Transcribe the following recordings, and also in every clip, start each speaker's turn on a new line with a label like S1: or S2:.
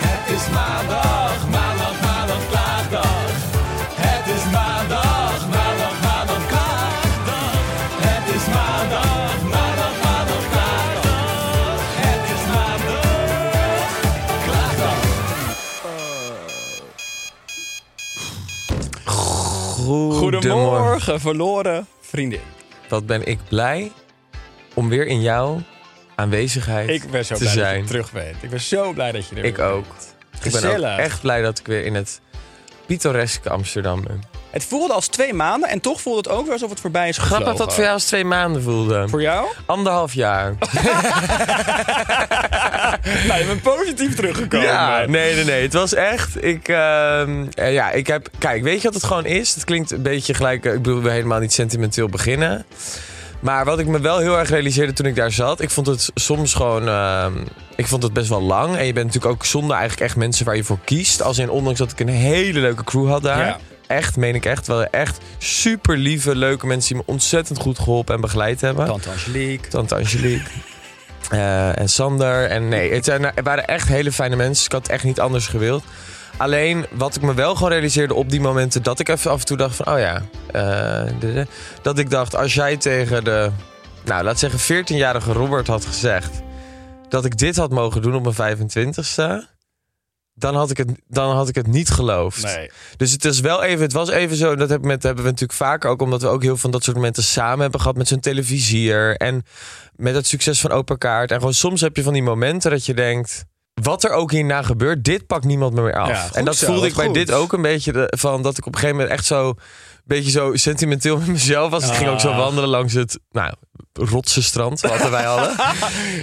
S1: Het is maandag, maandag, maandag, klaagdag. Het is maandag, maandag, maandag, klaagdag. Het is maandag, maandag, maandag, klaagdag. Het is maandag, klaagdag.
S2: Goedemorgen, verloren vriendin.
S3: Wat ben ik blij om weer in jouw aanwezigheid
S2: Ik ben zo
S3: te
S2: blij dat
S3: zijn.
S2: je terug bent. Ik ben zo blij dat je er
S3: ik
S2: weer
S3: ook.
S2: bent.
S3: Ik ben ook
S2: Gezellig.
S3: echt blij dat ik weer in het pittoreske Amsterdam ben.
S2: Het voelde als twee maanden en toch voelde het ook weer alsof het voorbij is
S3: Grappig
S2: gevlogen.
S3: dat dat voor jou als twee maanden voelde.
S2: Voor jou?
S3: Anderhalf jaar.
S2: Nou, je bent positief teruggekomen.
S3: ja, nee, nee, nee. Het was echt. Ik, ehm, eh, ja, ik heb. Kijk, weet je wat het gewoon is? Het klinkt een beetje gelijk. eh, Ik bedoel, we helemaal niet sentimenteel beginnen. Maar wat ik me wel heel erg realiseerde toen ik daar zat, ik vond het soms gewoon. ehm, ik vond het best wel lang. En je bent natuurlijk ook zonder eigenlijk echt mensen waar je voor kiest. Als in, ondanks dat ik een hele leuke crew had daar.
S2: Ja.
S3: Echt, meen ik echt. Wel echt super lieve, leuke mensen die me ontzettend goed geholpen en begeleid hebben.
S2: Tante Angelique.
S3: Tante Angelique. eh, en Sander. En nee, het zijn- er waren echt hele fijne mensen. Ik had het echt niet anders gewild. Alleen wat ik me wel gewoon realiseerde op die momenten dat ik even af en toe dacht van, oh ja, eh, de- de- dat ik dacht als jij tegen de, nou laat zeggen 14-jarige Robert had gezegd dat ik dit had mogen doen op mijn 25ste, dan had ik het, dan had ik het niet geloofd.
S2: Nee.
S3: Dus het is wel even, het was even zo. Dat heb ik met, hebben we natuurlijk vaker ook, omdat we ook heel veel van dat soort momenten samen hebben gehad met zo'n televisier. En met het succes van Open Kaart. En gewoon soms heb je van die momenten dat je denkt. Wat er ook hierna gebeurt, dit pakt niemand meer af.
S2: Ja, goed
S3: en dat
S2: zo,
S3: voelde
S2: wat
S3: ik bij
S2: goed.
S3: dit ook een beetje de- van dat ik op een gegeven moment echt zo. Een beetje zo sentimenteel met mezelf was. Ik ging ook zo
S2: Ah.
S3: wandelen langs het nou, rotse strand, wat wij hadden.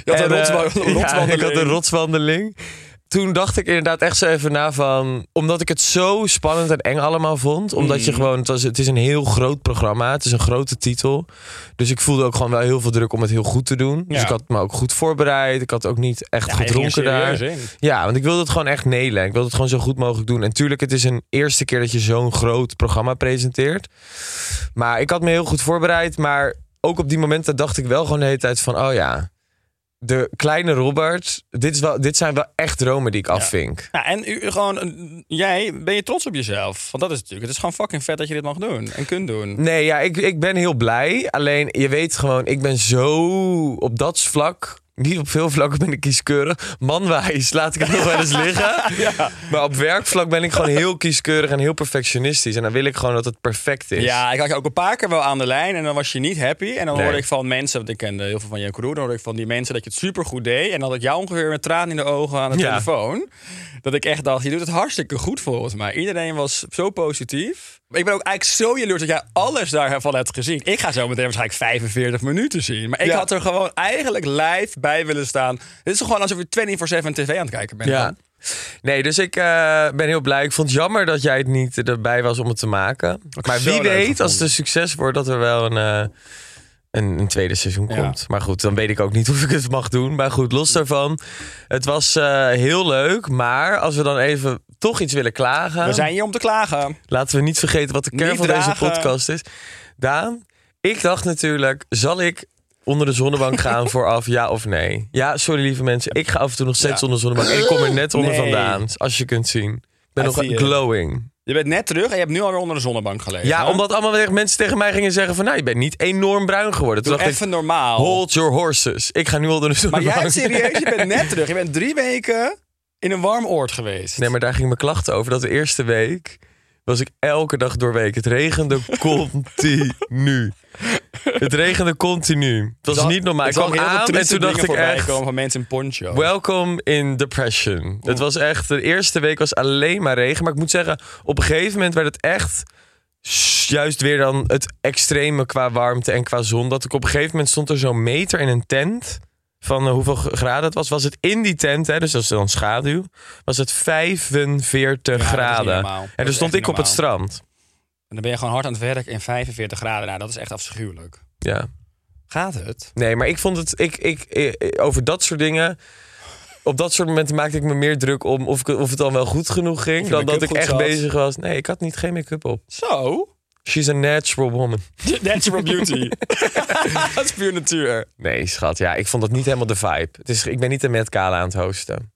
S2: Je had een
S3: En, eh,
S2: rotswa- rotswandeling.
S3: Ja, ik had een rotswandeling. Toen dacht ik inderdaad echt zo even na van... Omdat ik het zo spannend en eng allemaal vond. Omdat je gewoon... Het, was, het is een heel groot programma. Het is een grote titel. Dus ik voelde ook gewoon wel heel veel druk om het heel goed te doen. Dus
S2: Ja.
S3: ik had me ook goed voorbereid. Ik had ook niet echt
S2: Ja, je ging er
S3: gedronken daar.
S2: serieus in.
S3: Ja, want ik wilde het gewoon echt nelen. Ik wilde het gewoon zo goed mogelijk doen. En tuurlijk, het is een eerste keer dat je zo'n groot programma presenteert. Maar ik had me heel goed voorbereid. Maar ook op die momenten dacht ik wel gewoon de hele tijd van... Oh ja, de kleine Robert. Dit, is wel, dit zijn wel echt dromen die ik afvink.
S2: Nou, en u, gewoon, eh, jij, ben je trots op jezelf? Want dat is natuurlijk, het is gewoon fucking vet dat je dit mag doen en kunt doen.
S3: Nee, ja, ik, ik ben heel blij. Alleen, je weet gewoon, ik ben zo op dat vlak... Niet op veel vlakken ben ik kieskeurig. Manwijs laat ik het nog wel eens liggen. Maar op werkvlak ben ik gewoon heel kieskeurig en heel perfectionistisch. En dan wil ik gewoon dat het perfect is.
S2: Ja, ik had je ook een paar keer wel aan de lijn en dan was je niet happy. En dan
S3: Nee.
S2: hoorde ik van mensen, want ik kende heel veel van jouw crew, dan hoorde ik van die mensen dat je het supergoed deed. En dan had ik jou ongeveer met tranen in de ogen aan de
S3: Ja.
S2: telefoon. Dat ik echt dacht, je doet het hartstikke goed volgens mij. Iedereen was zo positief. Maar Ik ben ook eigenlijk zo jaloers dat jij alles daarvan hebt gezien. Ik ga zo meteen waarschijnlijk 45 minuten zien. Maar ik
S3: Ja.
S2: had er gewoon eigenlijk live bij willen staan. Dit is gewoon alsof je 24-7 tv aan het kijken bent.
S3: Ja.
S2: man.
S3: Nee, dus ik eh, ben heel blij. Ik vond het jammer dat jij het niet erbij was om het te maken. Maar
S2: zo
S3: wie
S2: leuk
S3: weet,
S2: gevonden.
S3: als het een succes wordt, dat er wel een, eh, een, een tweede seizoen
S2: Ja.
S3: komt. Maar goed, dan weet ik ook niet of ik het mag doen. Maar goed, los daarvan. Het was eh, heel leuk. Maar als we dan even toch iets willen klagen.
S2: We zijn hier om te klagen.
S3: Laten we niet vergeten wat de kern
S2: Niet
S3: van deze
S2: dragen.
S3: podcast is. Daan, ik dacht natuurlijk, zal ik onder de zonnebank gaan vooraf, ja of nee? Ja, sorry lieve mensen, ik ga af en toe nog steeds
S2: Ja.
S3: onder de zonnebank. Ik kom er net onder
S2: Nee.
S3: vandaan, als je kunt zien. Ik ben
S2: I
S3: nog
S2: see it.
S3: glowing.
S2: Je bent net terug en je hebt nu alweer onder de zonnebank gelegen.
S3: Ja,
S2: hè?
S3: omdat allemaal weer mensen tegen mij gingen zeggen van... nou, je bent niet enorm bruin geworden. Toen
S2: Doe
S3: dacht
S2: even
S3: ik,
S2: normaal.
S3: hold your horses. Ik ga nu al door de
S2: Maar
S3: zonnebank.
S2: jij serieus, je bent net terug. Je bent drie weken in een warm oord geweest.
S3: Nee, maar daar ging mijn klachten over. Dat de eerste week was ik elke dag door week. Het regende continu. Het regende continu. Het was
S2: Zal-
S3: niet normaal. Ik
S2: er zal
S3: kwam
S2: heel veel
S3: aan en
S2: trieste
S3: toen dacht
S2: dingen
S3: ik
S2: voorbij
S3: echt...
S2: komen van mensen in poncho.
S3: Welcome in depression. Het was echt, de eerste week was alleen maar regen. Maar ik moet zeggen, op een gegeven moment werd het echt s- juist weer dan het extreme qua warmte en qua zon. Dat ik op een gegeven moment stond er zo'n meter in een tent van eh, hoeveel g- graden het was. Was het in die tent, hè, dus dat is dan schaduw, was het 45
S2: Ja, dat is niet
S3: graden. en
S2: normaal. Dat
S3: toen
S2: is
S3: stond ik
S2: echt
S3: op het
S2: niet
S3: strand.
S2: En dan ben je gewoon hard aan het werk in 45 graden. Nou, dat is echt afschuwelijk.
S3: Ja.
S2: Gaat het?
S3: Nee, maar ik vond het. Ik, ik, eh, over dat soort dingen. Op dat soort momenten maakte ik me meer druk om of, ik, of het dan wel goed genoeg ging.
S2: je
S3: Dan dat
S2: make-up
S3: ik
S2: goed
S3: echt
S2: zat.
S3: bezig was. Nee, ik had niet geen make-up op.
S2: Zo?
S3: She's a natural woman.
S2: Natural beauty. dat is puur natuur.
S3: Nee, schat. Ja, ik vond dat niet helemaal de vibe. Het is, ik ben niet een met Kala aan het hosten.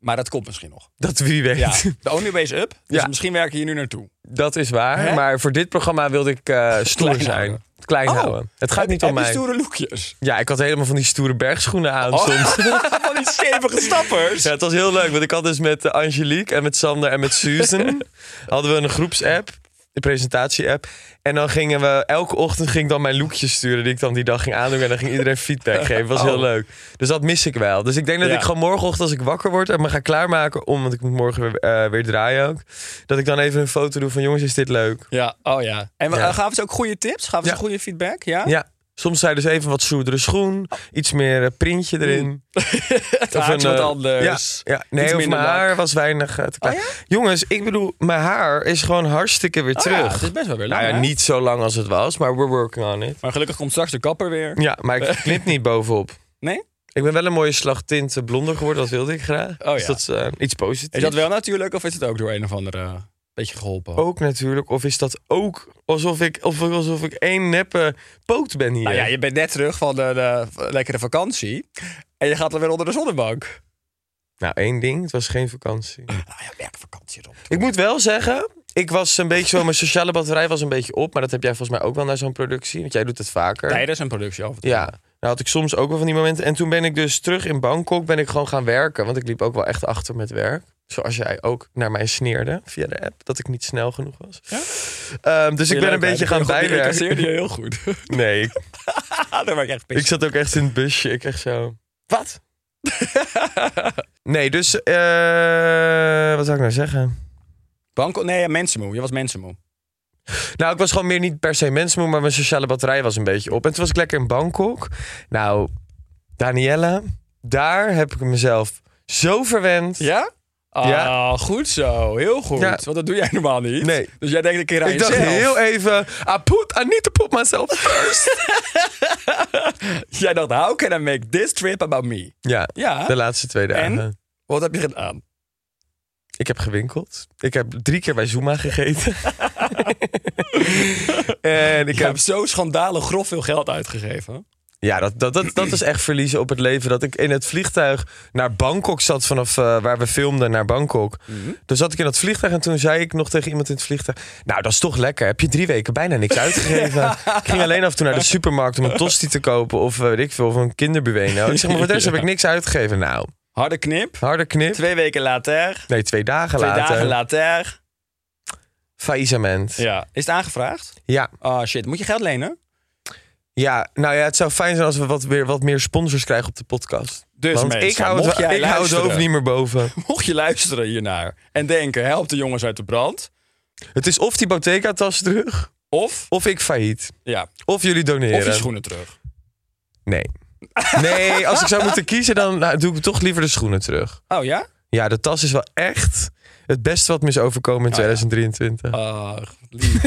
S2: Maar dat komt misschien nog.
S3: Dat wie weet.
S2: Ja, de only way is up. Dus
S3: Ja.
S2: misschien werken je nu naartoe.
S3: Dat is waar.
S2: Hè?
S3: Maar voor dit programma wilde ik eh, stoer
S2: Klein
S3: zijn.
S2: houden.
S3: Klein
S2: Oh.
S3: houden. Het gaat
S2: Heb-
S3: niet om
S2: heb je
S3: mij.
S2: stoere lookjes.
S3: Ja, ik had helemaal van die stoere bergschoenen aan soms.
S2: Van die stevige stappers.
S3: Ja, het was heel leuk, want ik had dus met eh, Angelique en met Sander en met Susan... hadden we een groepsapp, de presentatie-app. En dan gingen we, elke ochtend ging ik dan mijn lookjes sturen... die ik dan die dag ging aandoen en dan ging iedereen feedback geven. was heel
S2: Oh.
S3: leuk. Dus dat mis ik wel. Dus ik denk dat
S2: Ja.
S3: ik gewoon morgenochtend als ik wakker word... en me ga klaarmaken om, want ik moet morgen weer, eh, weer draaien ook... dat ik dan even een foto doe van jongens, is dit leuk?
S2: Ja, oh ja. En we-
S3: Ja.
S2: eh, gaven ze ook goede tips? Gaven
S3: Ja.
S2: ze goede feedback? Ja?
S3: Ja. Soms zei dus even wat zoedere schoen, iets meer eh, printje erin.
S2: Mm. Het haartje
S3: eh,
S2: wat anders.
S3: Ja, ja. nee,
S2: Iets
S3: of
S2: minder
S3: mijn
S2: lak.
S3: haar was weinig eh, te klein.
S2: ja?
S3: Jongens, ik bedoel, mijn haar is gewoon harstikke weer
S2: Oh ja,
S3: terug.
S2: het is best wel weer lang,
S3: nou ja,
S2: hè?
S3: niet zo lang als het was, maar we're working on it.
S2: Maar gelukkig komt straks de kapper weer.
S3: Ja, maar ik knip niet bovenop.
S2: Nee?
S3: Ik ben wel een mooie slag tint eh, blonder geworden, dat wilde ik graag.
S2: Oh ja.
S3: Dus dat is eh, iets positiefs.
S2: Is dat wel natuurlijk of is het ook door een of andere eh, beetje geholpen?
S3: Ook natuurlijk, of is dat ook alsof ik, of alsof ik één neppe poot ben hier?
S2: Nou ja, je bent net terug van de, de lekkere vakantie. En je gaat dan weer onder de zonnebank.
S3: Nou, één ding, het was geen vakantie.
S2: Nou ja, werkvakantie erop.
S3: Ik moet wel zeggen, ik was een beetje zo, mijn sociale batterij was een beetje op. Maar dat heb jij volgens mij ook wel naar zo'n productie, want jij doet het vaker.
S2: Tijdens een productie over.
S3: Ja, nou had ik soms ook wel van die momenten. En toen ben ik dus terug in Bangkok, ben ik gewoon gaan werken. Want ik liep ook wel echt achter met werk. Zoals jij ook naar mij sneerde via de app, dat ik niet snel genoeg was. Ehm, dus ik ben een beetje gaan
S2: Ik
S3: bijwerken.
S2: passeerde je heel goed.
S3: Nee, ik,
S2: Ah, daar ben ik echt
S3: ik
S2: pissig.
S3: zat ook echt in het busje. Ik echt zo, wat? nee, dus eh, wat zou ik nou zeggen?
S2: Banko, nee, ja, mensenmoe. Je was mensenmoe.
S3: Nou, ik was gewoon meer niet per se mensmoe, maar mijn sociale batterij was een beetje op. En toen was ik lekker in Bangkok. Nou, Daniella, daar heb ik mezelf zo verwend.
S2: Ja? Ah,
S3: Ja.
S2: goed zo. Heel goed.
S3: Ja.
S2: Want dat doe jij normaal niet.
S3: Nee.
S2: Dus jij denkt een keer aan
S3: ik dacht
S2: jezelf.
S3: heel even, I, put, I need to put myself first.
S2: Jij dacht, how can I make this trip about me?
S3: ja,
S2: Ja.
S3: de laatste twee dagen.
S2: En? Wat heb je gedaan?
S3: Ik heb gewinkeld. Ik heb drie keer bij Zuma gegeten. en ik
S2: Ik
S3: heb...
S2: heb zo schandalig grof veel geld uitgegeven.
S3: Ja, dat, dat, dat, dat is echt verliezen op het leven. Dat ik in het vliegtuig naar Bangkok zat vanaf eh, waar we filmden naar Bangkok.
S2: Mhm.
S3: Toen zat ik in dat vliegtuig en toen zei ik nog tegen iemand in het vliegtuig... Nou, dat is toch lekker. Heb je drie weken bijna niks uitgegeven. Ik ging alleen af en toe naar de supermarkt om een tosti te kopen... of eh, weet ik veel, of een kinderbueno. Ik zeg maar, voor de rest heb ik niks uitgegeven. Nou,
S2: Harde knip.
S3: harde knip.
S2: Twee weken later.
S3: Nee, twee dagen
S2: Twee
S3: later.
S2: dagen later.
S3: Faillissement. Ja.
S2: Ja. Is het aangevraagd?
S3: Ja.
S2: Oh shit, moet je geld lenen?
S3: nou ja, het zou fijn zijn als we wat, weer, wat meer sponsors krijgen op de podcast.
S2: Dus
S3: Want
S2: mensen,
S3: ik hou het,
S2: mocht
S3: wel-
S2: jij
S3: ik hou het
S2: luisteren.
S3: hoofd niet meer boven.
S2: Mocht je luisteren hiernaar en denken, help de jongens uit de brand.
S3: Het is of die Bottega-tas terug,
S2: Of,
S3: of ik failliet.
S2: ja,
S3: Of jullie doneren.
S2: of je schoenen terug.
S3: Nee. Nee, als ik zou moeten kiezen, dan nou, doe ik toch liever de schoenen terug.
S2: Oh ja?
S3: Ja, de tas is wel echt het beste wat me is overkomen in
S2: Oh.
S3: 2023.
S2: Ach, lief.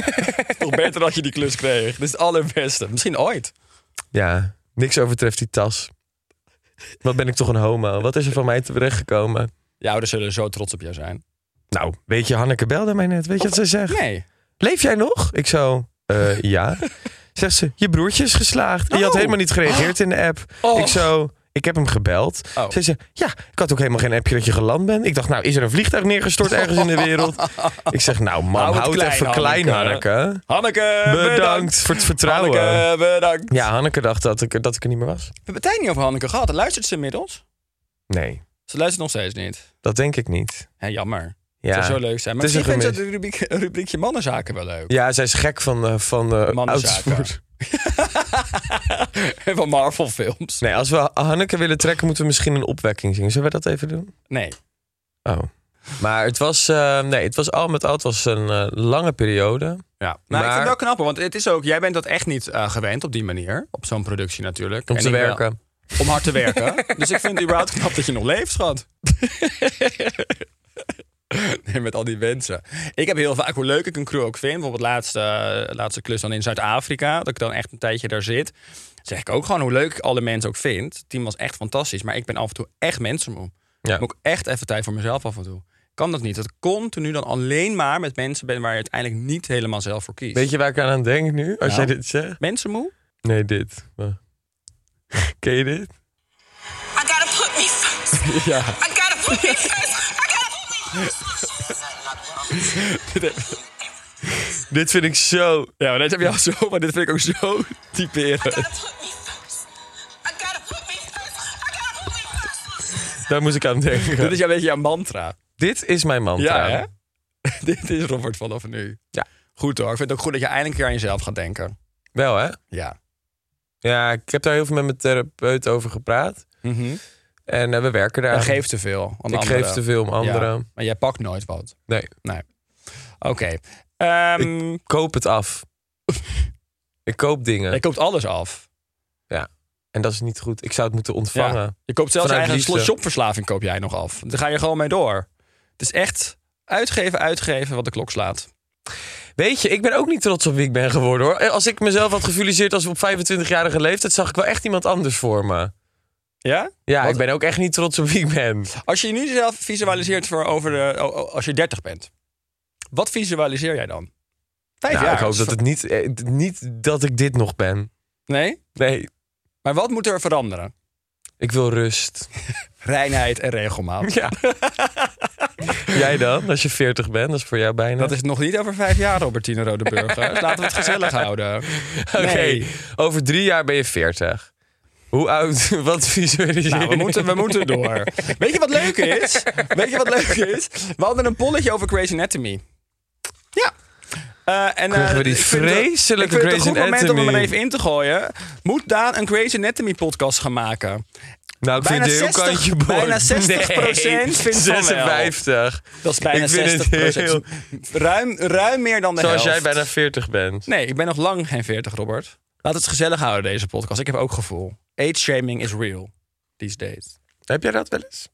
S2: Toch beter dat je die klus kreeg. Dit is het allerbeste. Misschien ooit.
S3: Ja, niks overtreft die tas. Wat ben ik toch een homo? Wat is er van mij terechtgekomen?
S2: Je ouders zullen zo trots op jou zijn.
S3: Nou, weet je, Hanneke belde mij net. Weet je wat ze zegt?
S2: Nee.
S3: Leef jij nog? Ik zo, eh, ja. Zegt ze, je broertje is geslaagd. En je had
S2: Oh.
S3: helemaal niet gereageerd in de app.
S2: Oh.
S3: Ik zo, Ik heb hem gebeld.
S2: Oh.
S3: Ze zei, ja, ik had ook helemaal geen appje dat je geland bent. Ik dacht, nou, is er een vliegtuig neergestort ergens in de wereld? Ik zeg, nou man,
S2: Hou
S3: houd
S2: het
S3: het
S2: klein,
S3: even klein,
S2: Hanneke.
S3: Hanneke.
S2: Hanneke,
S3: Bedankt, voor het vertrouwen.
S2: Hanneke, bedankt.
S3: Ja, Hanneke dacht dat ik, dat ik er niet meer was.
S2: We hebben het tijd niet over Hanneke gehad. Luistert ze inmiddels?
S3: Nee,
S2: Ze luistert nog steeds niet.
S3: dat denk ik niet.
S2: Hé, jammer.
S3: Ja.
S2: Het zou zo leuk zijn. Maar
S3: Het is
S2: misschien
S3: een
S2: vindt ze het rubriek, rubriekje mannenzaken wel leuk.
S3: Ja, zij is gek van, eh van eh,
S2: mannenzaken.
S3: autosport.
S2: En van Marvel films.
S3: Nee, als we Hanneke willen trekken, moeten we misschien een opwekking zingen. Zullen we dat even doen?
S2: Nee.
S3: Oh. Maar het was, eh, nee, het was al met al het was een eh, lange periode.
S2: Ja. Maar,
S3: Maar-
S2: ik vind het wel knapper, want het is ook, jij bent dat echt niet eh, gewend op die manier. Op zo'n productie natuurlijk.
S3: Om
S2: En
S3: te
S2: ik wel-
S3: werken.
S2: om hard te werken. dus ik vind het überhaupt knap dat je nog leeft, schat. Nee, met al die wensen. Ik heb heel vaak, hoe leuk ik een crew ook vind... bijvoorbeeld laatste, eh, laatste klus dan in Zuid-Afrika... dat ik dan echt een tijdje daar zit... zeg ik ook gewoon hoe leuk ik alle mensen ook vind. Het team was echt fantastisch, maar ik ben af en toe echt mensenmoe.
S3: Ja.
S2: Ik heb ook echt even tijd voor mezelf af en toe. Kan dat niet. Dat ik continu dan alleen maar met mensen ben... waar je uiteindelijk niet helemaal zelf voor kiest.
S3: Weet je waar ik aan denk nu? Als
S2: Nou.
S3: jij dit zegt?
S2: Mensenmoe?
S3: Nee, dit. Wacht. Ken je dit?
S4: I gotta put me first.
S2: Ja.
S4: I gotta put me first. I gotta put me
S3: Dit vind ik zo...
S2: Ja, maar dat heb je al zo, maar dit vind ik ook zo typerend.
S4: gotta put me first. I gotta put me first. I gotta put me first.
S3: Daar moest ik aan denken.
S2: Dit is jouw beetje jouw mantra.
S3: Dit is mijn mantra.
S2: Ja, hè? Dit is Robert vanaf nu.
S3: Ja.
S2: Goed hoor. Ik vind het ook goed dat je eindelijk een keer aan jezelf gaat denken.
S3: Wel, hè?
S2: Ja.
S3: Ja, ik heb daar heel veel met mijn therapeut over gepraat.
S2: Mhm.
S3: En eh, we werken daar.
S2: Je
S3: aan.
S2: geeft te veel. aan
S3: ik
S2: anderen.
S3: geef te veel om anderen.
S2: Ja, maar jij pakt nooit wat.
S3: Nee,
S2: Nee. Oké. Ehm,
S3: koop het af. ik koop dingen.
S2: Je koopt alles af.
S3: Ja. En dat is niet goed. Ik zou het moeten
S2: Ja.
S3: ontvangen.
S2: Je koopt zelfs
S3: Vanuit
S2: je eigen
S3: liefde.
S2: shopverslaving koop jij nog af. Daar ga je gewoon mee door. Het is echt uitgeven, uitgeven wat de klok slaat.
S3: Weet je, ik ben ook niet trots op wie ik ben geworden hoor. Als ik mezelf had gevisualiseerd als op 25-jarige leeftijd, zag ik wel echt iemand anders voor me.
S2: Ja?
S3: Ja,
S2: Wat-
S3: ik ben ook echt niet trots op wie ik ben.
S2: Als je je nu zelf visualiseert voor over de, o- o- als je 30 bent, wat visualiseer jij dan? Vijf
S3: Nou,
S2: jaar.
S3: ik hoop
S2: is
S3: dat
S2: ver-
S3: het niet, eh, d- niet dat ik dit nog ben.
S2: Nee?
S3: Nee,
S2: Maar wat moet er veranderen?
S3: ik wil rust.
S2: Reinheid en regelmaat.
S3: Ja. Jij dan, als je 40 bent, dat is voor jou bijna.
S2: Dat is nog niet over vijf jaar, Robertine Rodeburger. Dus laten we het gezellig houden.
S3: Oké,
S2: Nee.
S3: over drie jaar ben je 40. Hoe oud? Wat visualiseer
S2: Nou, we
S3: je?
S2: moeten, we moeten door. Weet je wat leuk is? Weet je wat leuk is? We hadden een polletje over Grey's Anatomy. Ja. Eh, en, eh,
S3: Krijgen we die
S2: ik vind het-
S3: vreselijke
S2: ik vind het
S3: Grey's
S2: een goed moment om hem er
S3: Anatomy.
S2: even in te gooien. Moet Daan een Grey's Anatomy podcast gaan maken?
S3: Nou, ik vind
S2: Bijna
S3: je heel
S2: 60
S3: kantje boord.
S2: bijna 60%
S3: nee,
S2: vindt van wel.
S3: 56.
S2: Dat is bijna
S3: ik vind
S2: 60
S3: Het heel,
S2: Ruim, ruim meer dan de
S3: zoals
S2: helft.
S3: jij bijna 40 bent.
S2: Nee, ik ben nog lang geen 40, Robert. Laat het gezellig houden, deze podcast. Ik heb ook gevoel. Age shaming is real these days.
S3: Heb jij dat wel eens?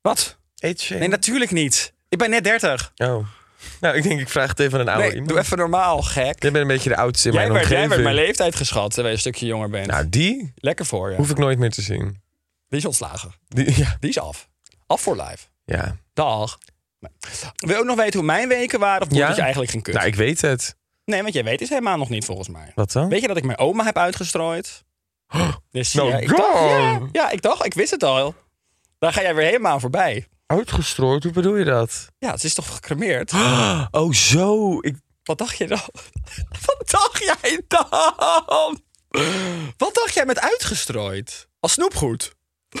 S2: Wat?
S3: Eet shame?
S2: Nee, natuurlijk niet. Ik ben net 30.
S3: Oh. Nou, ik denk ik vraag het even aan een oude
S2: Nee,
S3: iemand.
S2: doe even normaal, gek.
S3: Jij bent een beetje de oudste in
S2: Jij
S3: mijn
S2: werd, jij
S3: omgeving.
S2: werd mijn leeftijd geschat terwijl je een stukje jonger bent.
S3: nou, die
S2: Lekker voor je.
S3: hoef ik nooit meer te zien.
S2: Die is ontslagen.
S3: Die, ja.
S2: Die is af. Af voor live.
S3: ja.
S2: Dag. Nee. Wil je ook nog weten hoe mijn weken waren? Of moet
S3: Ja?
S2: dat je eigenlijk geen kunt?
S3: Nou, ik weet het.
S2: Nee, want jij weet het helemaal nog niet volgens mij.
S3: Wat dan?
S2: Weet je dat ik mijn oma heb uitgestrooid? Dus
S3: Nou,
S2: ja, ik dacht, ja,
S3: dan.
S2: ja, ik dacht, ik wist het al. Daar ga jij weer helemaal aan voorbij.
S3: Uitgestrooid, hoe bedoel je dat?
S2: Ja, ze is toch gecremeerd?
S3: Oh, zo. Ik,
S2: Wat dacht je dan? Wat dacht jij dan? Wat dacht jij met uitgestrooid? Als snoepgoed?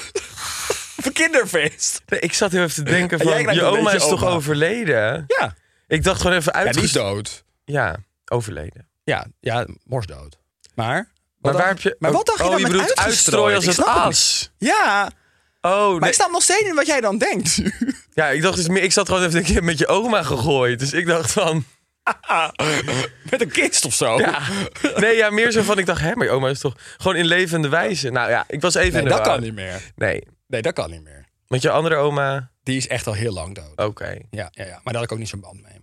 S2: Voor kinderfeest?
S3: nee, ik zat heel even te denken
S2: En jij
S3: van,
S2: krijgt
S3: je
S2: een
S3: oma
S2: beetje
S3: is toch
S2: oma.
S3: overleden?
S2: Ja.
S3: Ik dacht gewoon even
S2: Ja, die is
S3: uitgestrooid.
S2: dood.
S3: Ja, overleden.
S2: Ja, ja, morsdood. Maar? wat
S3: Maar
S2: dacht-
S3: waar heb je...
S2: Maar wat dacht
S3: oh,
S2: je dan
S3: je
S2: met
S3: bedoelt
S2: uitgestrooid?
S3: uitstrooien als
S2: Ik
S3: het
S2: snap het niet.
S3: as?
S2: Ja,
S3: Oh,
S2: maar
S3: nee.
S2: ik sta nog steeds in wat jij dan denkt.
S3: Ja, ik dacht dus meer, ik zat gewoon even, te denken, je hebt met je oma gegooid. Dus ik dacht van,
S2: met een kist of zo.
S3: nee ja, meer zo van, ik dacht, hè, maar je oma is toch gewoon in levende wijze. Nou ja, ik was even
S2: Nee,
S3: in de
S2: dat
S3: war.
S2: kan niet meer.
S3: Nee,
S2: Nee, dat kan niet meer.
S3: want je andere oma,
S2: Die is echt al heel lang dood.
S3: oké,
S2: Ja, ja, ja, maar daar had ik ook niet zo'n band mee.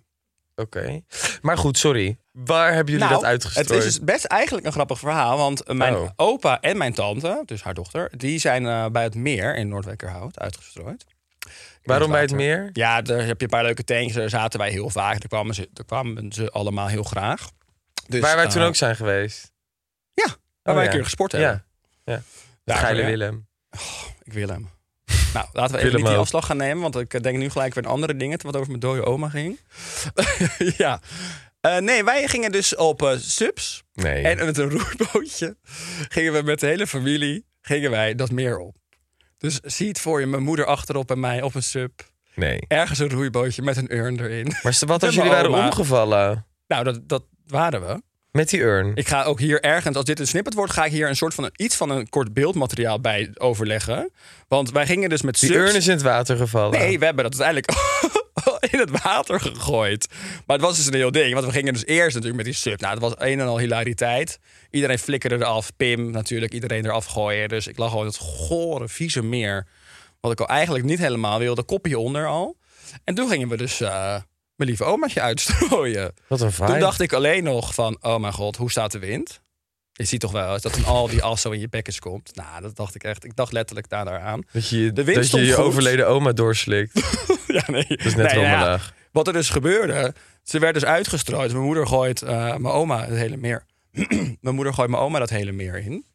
S3: oké. Maar goed, sorry. Waar hebben jullie dat uitgestrooid?
S2: het is dus best eigenlijk een grappig verhaal. Want eh, mijn
S3: Oh.
S2: opa en mijn tante, dus haar dochter... die zijn eh, bij het meer in Noordwekerhout uitgestrooid.
S3: Waarom bij het
S2: water.
S3: meer?
S2: Ja, daar heb je een paar leuke tanks. Daar zaten wij heel vaak. Daar kwamen ze, daar kwamen ze allemaal heel graag. Dus,
S3: Waar wij toen
S2: eh,
S3: ook zijn geweest. Oh
S2: Ja, waar wij
S3: ja.
S2: een keer gesport hebben.
S3: Ja,
S2: Ja,
S3: Geile
S2: ja.
S3: Willem.
S2: Ik wil hem. Nou, laten we
S3: Willem
S2: even niet die
S3: ook.
S2: afslag gaan nemen, want ik eh, denk nu gelijk weer aan andere dingen, wat over mijn dode oma ging. ja. Eh, nee, wij gingen dus op eh, subs
S3: Nee.
S2: en met een roeibootje gingen we met de hele familie gingen wij dat meer op. Dus zie het voor je, mijn moeder achterop en mij op een sub.
S3: nee.
S2: Ergens een roeibootje met een urn erin.
S3: Maar s- wat als
S2: Met
S3: jullie
S2: mijn
S3: waren
S2: oma.
S3: omgevallen
S2: Nou, dat, dat waren we.
S3: met die urn?
S2: Ik ga ook hier ergens, als dit een snippet wordt, ga ik hier een soort van iets van een kort beeldmateriaal bij overleggen. Want wij gingen dus met
S3: die
S2: subs.
S3: urn is in het water gevallen.
S2: Nee, we hebben dat uiteindelijk in het water gegooid. Maar het was dus een heel ding. Want we gingen dus eerst natuurlijk met die sub. Nou, het was een en al hilariteit. Iedereen flikkerde eraf. Pim natuurlijk, iedereen eraf gooien. Dus ik lag al in het gore, vieze meer. Wat ik al eigenlijk niet helemaal wilde. Kopje onder al. En toen gingen we dus eh, mijn lieve omaatje uitstrooien.
S3: Wat een vibe.
S2: Toen dacht ik alleen nog van, oh mijn god, hoe staat de wind? Je ziet toch wel eens dat een al die as zo in je bekkens komt. Nou, dat dacht ik echt. Ik dacht letterlijk daar aan.
S3: dat je
S2: de wind
S3: dat je,
S2: stond
S3: je
S2: goed.
S3: overleden oma doorslikt. Nou,
S2: Ja, nee. Dat
S3: is net rommelig.
S2: Wat er dus gebeurde, ze werd dus uitgestrooid. Mijn moeder gooit eh, mijn oma het hele meer. mijn moeder gooit mijn oma dat hele meer in.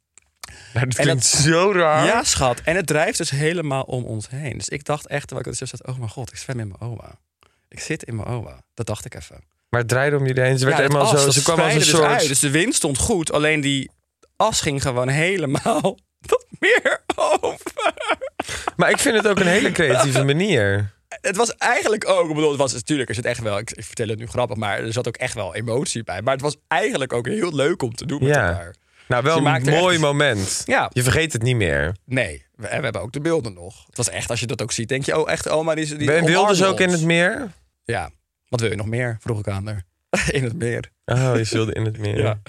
S3: Nou, dat
S2: En dat-
S3: klinkt zo raar.
S2: Ja, schat. En het drijft dus helemaal om ons heen. Dus ik dacht echt, terwijl ik zo zat, oh mijn god, ik zwem in mijn oma. Ik zit in mijn oma. Dat dacht ik even.
S3: Maar het draaide om jullie heen. Ze, werd
S2: Ja, dat
S3: helemaal
S2: as,
S3: zo,
S2: dat
S3: ze kwam als een
S2: spreidde
S3: soort...
S2: Dus, uit. dus de wind stond goed, alleen die as ging gewoon helemaal dat meer over.
S3: Maar ik vind het ook een hele creatieve manier.
S2: Het was eigenlijk ook, ik bedoel, het was natuurlijk, er zit echt wel, ik, ik vertel het nu grappig, maar er zat ook echt wel emotie bij. Maar het was eigenlijk ook heel leuk om te doen met
S3: Ja.
S2: elkaar.
S3: Nou, wel
S2: Je
S3: een
S2: maakt er
S3: mooi
S2: echt-
S3: moment.
S2: Ja.
S3: Je vergeet het niet meer.
S2: Nee, we, en we hebben ook de beelden nog. Het was echt, als je dat ook ziet, denk je, oh echt, oma, die, is- die
S3: Ben
S2: omarmde
S3: wilde ze ook in
S2: ons.
S3: het meer?
S2: Ja, wat wil je nog meer, vroeg ik aan haar. in het meer.
S3: Oh, je wilde in het meer.
S2: Ja.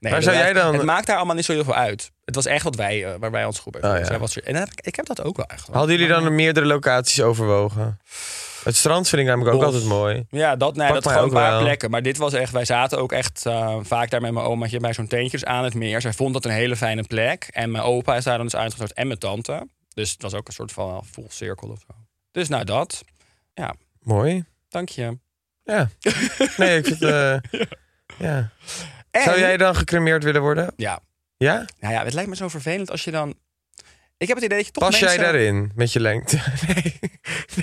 S2: Nee,
S3: Waar zou jij
S2: inderdaad,
S3: dan-
S2: Het maakt daar allemaal niet zo heel veel uit. Het was echt wat wij, eh, waar wij ons goed bij
S3: Oh,
S2: voelden.
S3: ja.
S2: Zij was er- En heb ik- ik heb dat ook wel eigenlijk.
S3: Hadden jullie dan meerdere locaties overwogen? Het strand vind ik namelijk ook
S2: Bos.
S3: altijd mooi.
S2: Ja, dat, nee,
S3: Pak
S2: dat
S3: mij
S2: gewoon een
S3: ook
S2: paar
S3: wel.
S2: plekken. Maar dit was echt, wij zaten ook echt eh, vaak daar met mijn omaatje bij zo'n tentje dus aan het meer. Zij vond dat een hele fijne plek. En mijn opa is daar dan dus uitgenodigd en mijn tante. Dus het was ook een soort van full cirkel of zo. Dus nou dat,
S3: Mooi.
S2: dank je.
S3: Ja. Nee, ik vind... eh, ja. Zou
S2: En-
S3: jij dan gecremeerd willen worden?
S2: Ja,
S3: Ja?
S2: nou ja, het lijkt me zo vervelend als je dan... Ik heb het idee dat je toch
S3: Pas jij
S2: mensen-
S3: daarin met je lengte? Nee.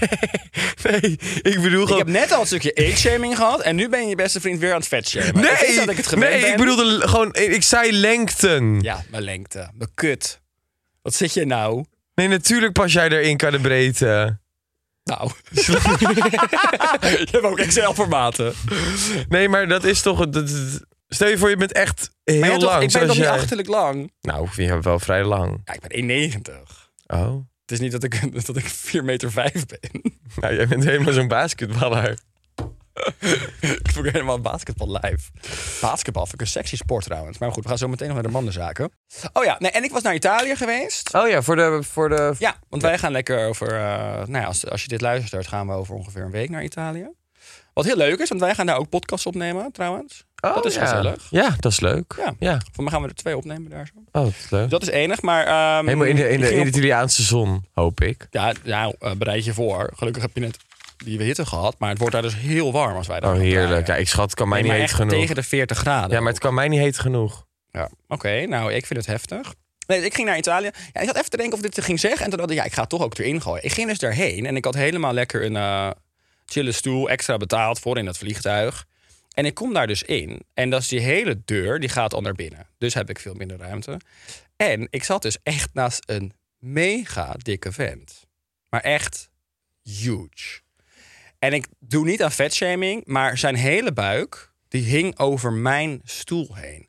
S3: Nee. Nee. Ik bedoel
S2: Ik
S3: gewoon...
S2: heb net al een stukje age-shaming gehad en nu ben je je beste vriend weer aan het vetshamen.
S3: Nee,
S2: Ik weet dat ik het gewend
S3: nee,
S2: ben.
S3: ik bedoelde l- gewoon, ik zei lengten.
S2: Ja, mijn lengte, mijn kut. Wat zit je nou?
S3: Nee, natuurlijk pas jij erin kan de breedte.
S2: Nou. je hebt ook Excel-formaten.
S3: Nee, maar dat is toch. Dat, dat- stel je voor, je bent echt heel
S2: Maar ja, toch,
S3: lang.
S2: ik ben
S3: zoals
S2: toch niet
S3: jij-
S2: achterlijk lang?
S3: Nou, je bent wel vrij lang.
S2: Ja, ik ben 1,90.
S3: Oh.
S2: Het is niet dat ik, dat ik 4 meter 5 ben.
S3: Nou, jij bent helemaal zo'n basketballer.
S2: ik voel helemaal basketbal live. Basketbal vind ik een sexy sport trouwens. Maar goed, we gaan zo meteen nog naar de mannenzaken. Oh ja, nee, en ik was naar Italië geweest.
S3: Oh ja, voor de. Voor de...
S2: Ja, want wij gaan lekker over... eh, nou ja, als, als je dit luistert, gaan we over ongeveer een week naar Italië. Wat heel leuk is, want wij gaan daar ook podcasts opnemen trouwens.
S3: Oh,
S2: dat is
S3: ja.
S2: gezellig.
S3: Ja, dat is leuk.
S2: Ja.
S3: Ja.
S2: Voor mij gaan we er twee opnemen daar zo.
S3: Oh, dat is leuk.
S2: Dat is enig, maar... ehm,
S3: Helemaal in de, in,
S2: ik
S3: de,
S2: ging
S3: in
S2: op-
S3: de Italiaanse zon, hoop ik.
S2: Ja, nou, eh, bereid je voor. Gelukkig heb je net die hitte gehad. Maar het wordt daar dus heel warm als wij daar
S3: Oh,
S2: gaan
S3: heerlijk. Ja,
S2: draaien.
S3: ik schat, het kan mij
S2: Nee, maar
S3: niet heet
S2: echt
S3: genoeg.
S2: tegen de 40 graden.
S3: Ja, maar het kan mij niet heet genoeg.
S2: Ja. Oké, nou, ik vind het heftig. Nee, dus ik ging naar Italië. Ja, ik zat even te denken of ik dit ging zeggen. En toen dacht ik, ja, ik ga het toch ook erin gooien. Ik ging dus daarheen en ik had helemaal lekker een eh chille stoel extra betaald voor in dat vliegtuig. En ik kom daar dus in. En dat is die hele deur, die gaat al naar binnen. Dus heb ik veel minder ruimte. En ik zat dus echt naast een mega dikke vent. Maar echt huge. En ik doe niet aan vetshaming, maar zijn hele buik... die hing over mijn stoel heen.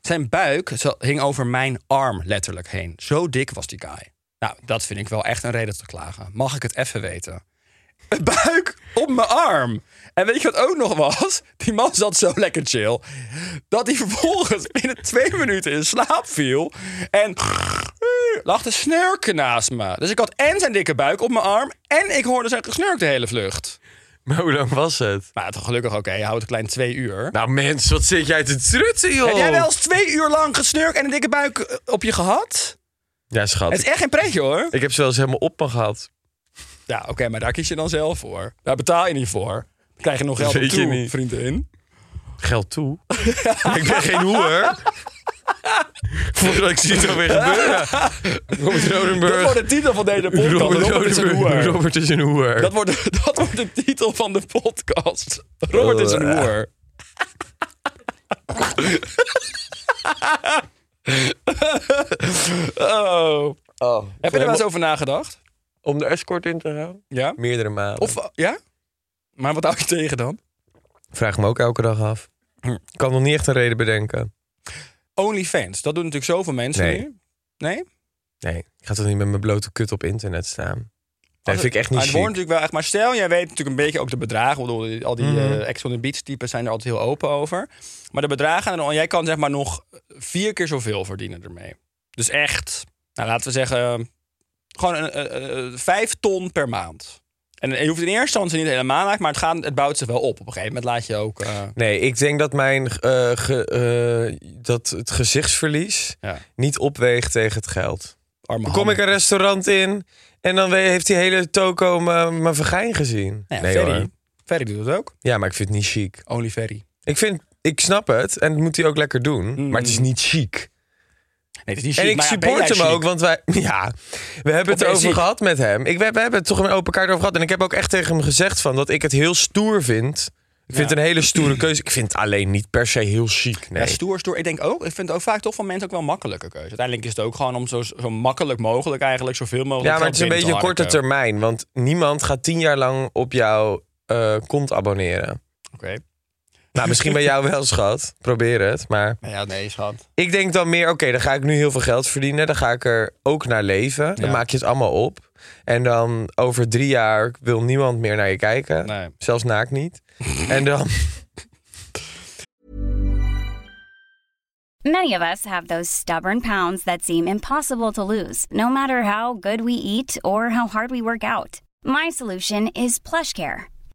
S2: Zijn buik zo- hing over mijn arm letterlijk heen. Zo dik was die guy. Nou, dat vind ik wel echt een reden te klagen. Mag ik het even weten? Een buik op mijn arm. En weet je wat ook nog was? Die man zat zo lekker chill. Dat hij vervolgens binnen twee minuten in slaap viel. En lag te snurken naast me. Dus ik had en zijn dikke buik op mijn arm. En ik hoorde zijn gesnurk de hele vlucht.
S3: Maar hoe lang was het?
S2: Maar toch gelukkig, oké, hij houdt een klein twee uur.
S3: Nou, mens, wat zit jij te trutsen, joh?
S2: Heb jij wel eens twee uur lang gesnurkt en een dikke buik eh, op je gehad?
S3: Ja, schat.
S2: Het is echt geen pretje hoor.
S3: Ik heb ze wel eens helemaal op me gehad.
S2: Ja, oké, maar daar kies je dan zelf voor. Daar betaal je niet voor. Dan krijg je nog geld op
S3: Weet je
S2: toe,
S3: niet.
S2: vriendin.
S3: Geld toe. ik ben geen hoer. Voordat ik zie het alweer gebeuren. Robert
S2: Dat wordt
S3: Rodenburg.
S2: de titel van deze podcast. Robert, is een hoer.
S3: Robert is een hoer.
S2: Dat wordt, dat wordt de titel van de podcast. Robert is een hoer. Oh.
S3: Oh.
S2: Heb je er wel eens over nagedacht?
S3: Om de escort in te gaan?
S2: Ja?
S3: Meerdere malen.
S2: Of, eh, ja? Maar wat hou je tegen dan?
S3: Vraag me ook elke dag af. Ik kan nog niet echt een reden bedenken.
S2: OnlyFans, dat doen natuurlijk zoveel mensen
S3: Nee.
S2: nu. Nee?
S3: Nee, ik ga toch niet met mijn blote kut op internet staan. Dat
S2: Als-
S3: vind ik echt niet
S2: maar het wordt
S3: chic.
S2: natuurlijk wel echt. Maar stel, jij weet natuurlijk een beetje ook de bedragen. Ik bedoel, al die
S3: Mhm.
S2: eh Ex on the Beach types zijn er altijd heel open over. Maar de bedragen, en dan- jij kan zeg maar nog vier keer zoveel verdienen ermee. Dus echt, nou, laten we zeggen, gewoon een, eh, eh, vijf ton per maand. En je hoeft in eerste instantie niet helemaal naar, maar het, gaat, het bouwt zich wel op. Op een gegeven moment laat je ook. eh,
S3: Nee, ik denk dat, mijn, eh, ge- eh, dat het gezichtsverlies
S2: ja,
S3: niet opweegt tegen het geld.
S2: arme
S3: Dan kom ik
S2: handen.
S3: een restaurant in en dan we- heeft die hele toko mijn mijn vergijn gezien.
S2: Nou ja,
S3: nee
S2: Ferry.
S3: hoor.
S2: Ferry doet dat ook.
S3: Ja, maar ik vind het niet chic.
S2: Only Ferry.
S3: Ik vind, ik snap het en dat moet hij ook lekker doen,
S2: Mm.
S3: maar het is niet chic.
S2: Nee, het is niet
S3: En
S2: chic,
S3: ik
S2: maar ja, ben
S3: support
S2: jij
S3: hem
S2: chic?
S3: ook, want wij, ja, we hebben
S2: ben
S3: het
S2: je
S3: over
S2: chic?
S3: gehad met hem. Ik, we, we hebben het toch een open kaart over gehad en ik heb ook echt tegen hem gezegd van dat ik het heel stoer vind. Ik vind
S2: Ja.
S3: het een hele stoere keuze. Ik vind het alleen niet per se heel chic. Nee.
S2: Ja, stoer, stoer. Ik denk ook, ik vind het ook vaak toch van mensen ook wel een makkelijke keuze. Uiteindelijk is het ook gewoon om zo, zo makkelijk mogelijk eigenlijk zoveel mogelijk
S3: Ja, maar het is een beetje een korte
S2: term.
S3: termijn. Want niemand gaat tien jaar lang op jouw eh, kont abonneren.
S2: Oké.
S3: Nou, misschien bij jou wel, schat. Probeer het. Maar
S2: Nou Ja, nee, schat.
S3: ik denk dan meer, oké, dan ga ik nu heel veel geld verdienen. Dan ga ik er ook naar leven. Dan
S2: Ja.
S3: maak je het allemaal op. En dan over drie jaar wil niemand meer naar je kijken.
S2: Nee.
S3: Zelfs naakt niet. en dan...
S5: Many of us have those stubborn pounds that seem impossible to lose, no matter how good we eat or how hard we work out. My solution is PlushCare.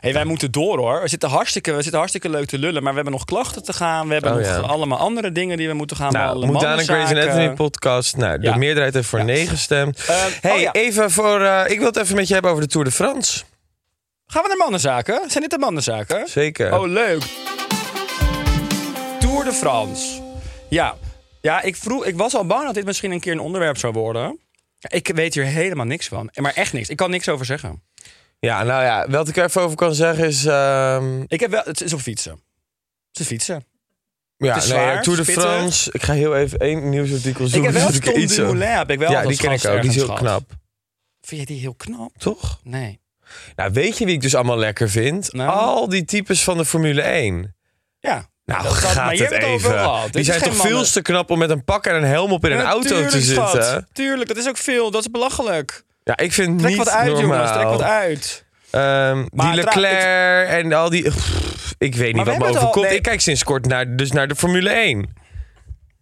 S2: hey, wij moeten door hoor. We zitten, hartstikke, we zitten hartstikke leuk te lullen, maar we hebben nog klachten te gaan. We hebben
S3: Oh,
S2: nog
S3: ja.
S2: allemaal andere dingen die we moeten gaan
S3: Nou,
S2: behandelen.
S3: moet aan een
S2: Mannenzaken.
S3: Crazy Anatomy podcast. Nou, de
S2: Ja.
S3: meerderheid heeft voor nee gestemd.
S2: Eh,
S3: hey,
S2: oh ja.
S3: even voor... eh, ik wil het even met je hebben over de Tour de France.
S2: Gaan we naar mannenzaken? Zijn dit de mannenzaken?
S3: Zeker.
S2: Oh, leuk. Tour de France. Ja, ja ik, vroeg, ik was al bang dat dit misschien een keer een onderwerp zou worden. Ik weet hier helemaal niks van. Maar echt niks. Ik kan niks over zeggen.
S3: Ja, nou ja, wat ik er even over kan zeggen is... ehm,
S2: Ik heb wel, het is op fietsen. Het is fietsen.
S3: ja,
S2: is
S3: nee,
S2: zwaar,
S3: Tour de
S2: pittig.
S3: France. Ik ga heel even één nieuwsartikel
S2: Ik
S3: zoeken.
S2: heb wel
S3: zodat er
S2: Tom
S3: iets over-
S2: Dumoulin. Heb ik wel
S3: Ja,
S2: als
S3: die ken ik
S2: gast
S3: ook. Die is
S2: ergens
S3: heel
S2: gehad.
S3: knap.
S2: Vind je die heel knap?
S3: Toch?
S2: Nee.
S3: Nou, weet je wie ik dus allemaal lekker vind?
S2: Nou.
S3: Al die types van de Formule 1.
S2: Ja.
S3: Nou,
S2: dat- dat-
S3: gaat
S2: maar je
S3: het
S2: hebt over
S3: even.
S2: gehad. Dit
S3: die
S2: is
S3: zijn
S2: geen
S3: toch
S2: mannen-
S3: veel te knap om met een pak en een helm op in een auto te
S2: Natuurlijk,
S3: zitten?
S2: schat. Tuurlijk, dat is ook veel. Dat is belachelijk.
S3: Ja, ik vind
S2: Trek
S3: niet
S2: wat uit,
S3: normaal.
S2: jongens. Trek wat uit.
S3: Ehm, die
S2: Maar
S3: Leclerc en al die... Pff, ik weet niet
S2: we
S3: wat me
S2: hebben het al-
S3: overkomt.
S2: nee.
S3: Ik kijk sinds kort naar, dus naar de Formule 1.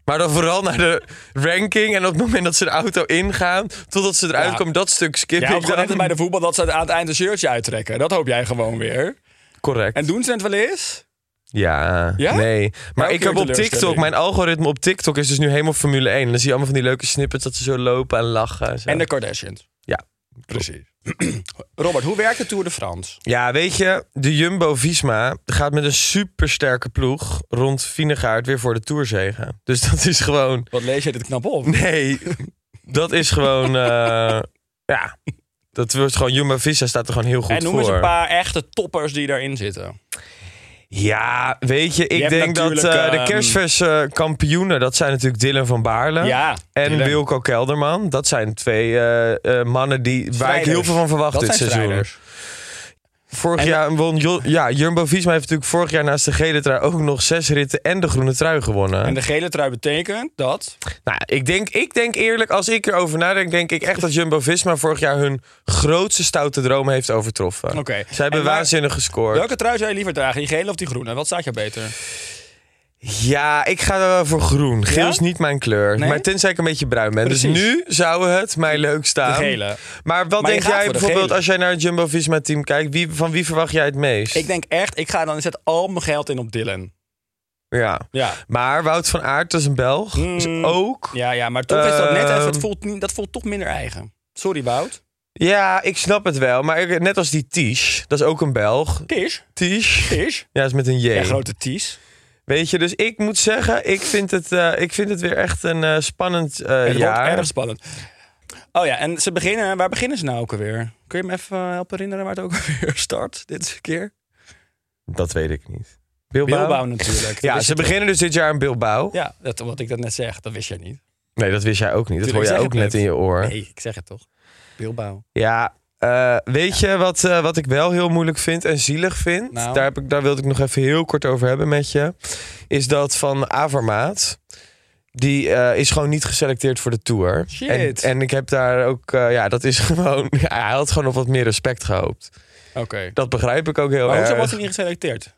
S3: Maar dan vooral naar de ranking. En op het moment dat ze de auto ingaan, totdat ze eruit
S2: Ja.
S3: komen, dat stuk skip
S2: Jij
S3: ik
S2: hoopt gewoon
S3: dan.
S2: net als bij de voetbal dat ze aan het eind een shirtje uittrekken. Dat hoop jij gewoon weer.
S3: Correct.
S2: En doen ze het wel eens?
S3: Ja,
S2: Ja?
S3: nee. Maar
S2: Elke
S3: ik heb
S2: keer
S3: op TikTok,
S2: teleurstelling.
S3: mijn algoritme op TikTok is dus nu helemaal Formule 1. En dan zie je allemaal van die leuke snippets dat ze zo lopen en lachen. En, zo.
S2: En de Kardashians.
S3: Ja.
S2: Precies. Robert, hoe werkt de Tour de France?
S3: Ja, weet je, de Jumbo-Visma gaat met een supersterke ploeg rond Vinegaard weer voor de Tourzegen. Dus dat is gewoon...
S2: Wat lees je dit knap op?
S3: Nee, dat is gewoon... eh, ja, dat wordt gewoon... Jumbo-Visma staat er gewoon heel goed
S2: en noem eens
S3: voor.
S2: een paar echte toppers die daarin zitten.
S3: Ja, weet je, ik
S2: hebt
S3: denk dat
S2: natuurlijk,
S3: eh, de
S2: ehm,
S3: kerstverse kampioenen... dat zijn natuurlijk Dylan van Baarle.
S2: Ja.
S3: En
S2: Dylan.
S3: Wilco Kelderman. Dat zijn twee eh, eh, mannen die, waar ik
S2: Strijders.
S3: heel veel van verwacht
S2: Dat
S3: dit
S2: zijn
S3: seizoen.
S2: strijders.
S3: Vorig
S2: En-
S3: jaar won Jo- ja, Jumbo Visma heeft natuurlijk vorig jaar naast de gele trui ook nog zes ritten en de groene trui gewonnen.
S2: En de gele trui betekent dat...
S3: Nou, ik denk, ik denk eerlijk, als ik erover nadenk, denk ik echt dat Jumbo Visma vorig jaar hun grootste stoute droom heeft overtroffen.
S2: Oké.
S3: Ze hebben
S2: En waar-
S3: waanzinnig gescoord.
S2: Welke trui zou je liever dragen? Die gele of die groene? Wat staat jou beter?
S3: Ja, ik ga er wel voor groen. Geel
S2: Ja?
S3: is niet mijn kleur.
S2: Nee?
S3: Maar tenzij ik een beetje bruin ben. Dus
S2: Precies.
S3: nu zou het mij leuk staan.
S2: De gele.
S3: Maar wat
S2: Maar je
S3: denk
S2: gaat
S3: jij
S2: voor de
S3: bijvoorbeeld
S2: gele.
S3: als jij naar het Jumbo Visma team kijkt? Wie, van wie verwacht jij het meest?
S2: Ik denk echt, ik ga dan zet al mijn geld in op Dylan.
S3: Ja.
S2: Ja.
S3: Maar Wout van Aert, dat is een Belg. Is
S2: Mm.
S3: ook. Ja.
S2: Ja, ja, maar toch is dat net even, het
S3: Ehm.
S2: voelt, niet- dat voelt toch minder eigen. Sorry, Wout.
S3: ik snap het wel. Maar ik- net als die Tisch, dat is ook een Belg.
S2: Tish,
S3: Tisch.
S2: Tish.
S3: Ja, is met een J.
S2: Ja, grote Ties.
S3: Weet je, dus ik moet zeggen, ik vind het, eh, ik vind het weer echt een eh, spannend eh,
S2: Het
S3: jaar.
S2: wordt erg spannend. Oh ja, en ze beginnen, waar beginnen ze nou ook alweer? Kun je me even eh, helpen herinneren waar het ook alweer start, dit keer?
S3: Dat weet ik niet. Bilbao?
S2: Bilbao
S3: Ja,
S2: natuurlijk. Dat
S3: ze
S2: wist je
S3: beginnen dus dit jaar in Bilbao.
S2: toch? Ja, dat, wat ik dat net zeg, dat wist jij niet.
S3: Nee, dat wist jij ook niet. Dat
S2: Tuurlijk,
S3: hoor jij
S2: ik
S3: ook
S2: zeg
S3: net
S2: het
S3: in je oor.
S2: Nee, ik zeg het toch. Bilbao.
S3: Ja, eh, weet je wat, eh, wat ik wel heel moeilijk vind en zielig vind?
S2: Nou.
S3: Daar, heb ik, daar wilde ik nog even heel kort over hebben met je. Is dat van Avermaat. Die eh, is gewoon niet geselecteerd voor de Tour.
S2: Shit.
S3: En, en ik heb daar ook... eh, ja, dat is gewoon... hij had gewoon op wat meer respect gehoopt.
S2: Oké.
S3: Dat begrijp ik ook heel
S2: Maar hoezo
S3: erg.
S2: was hij niet geselecteerd?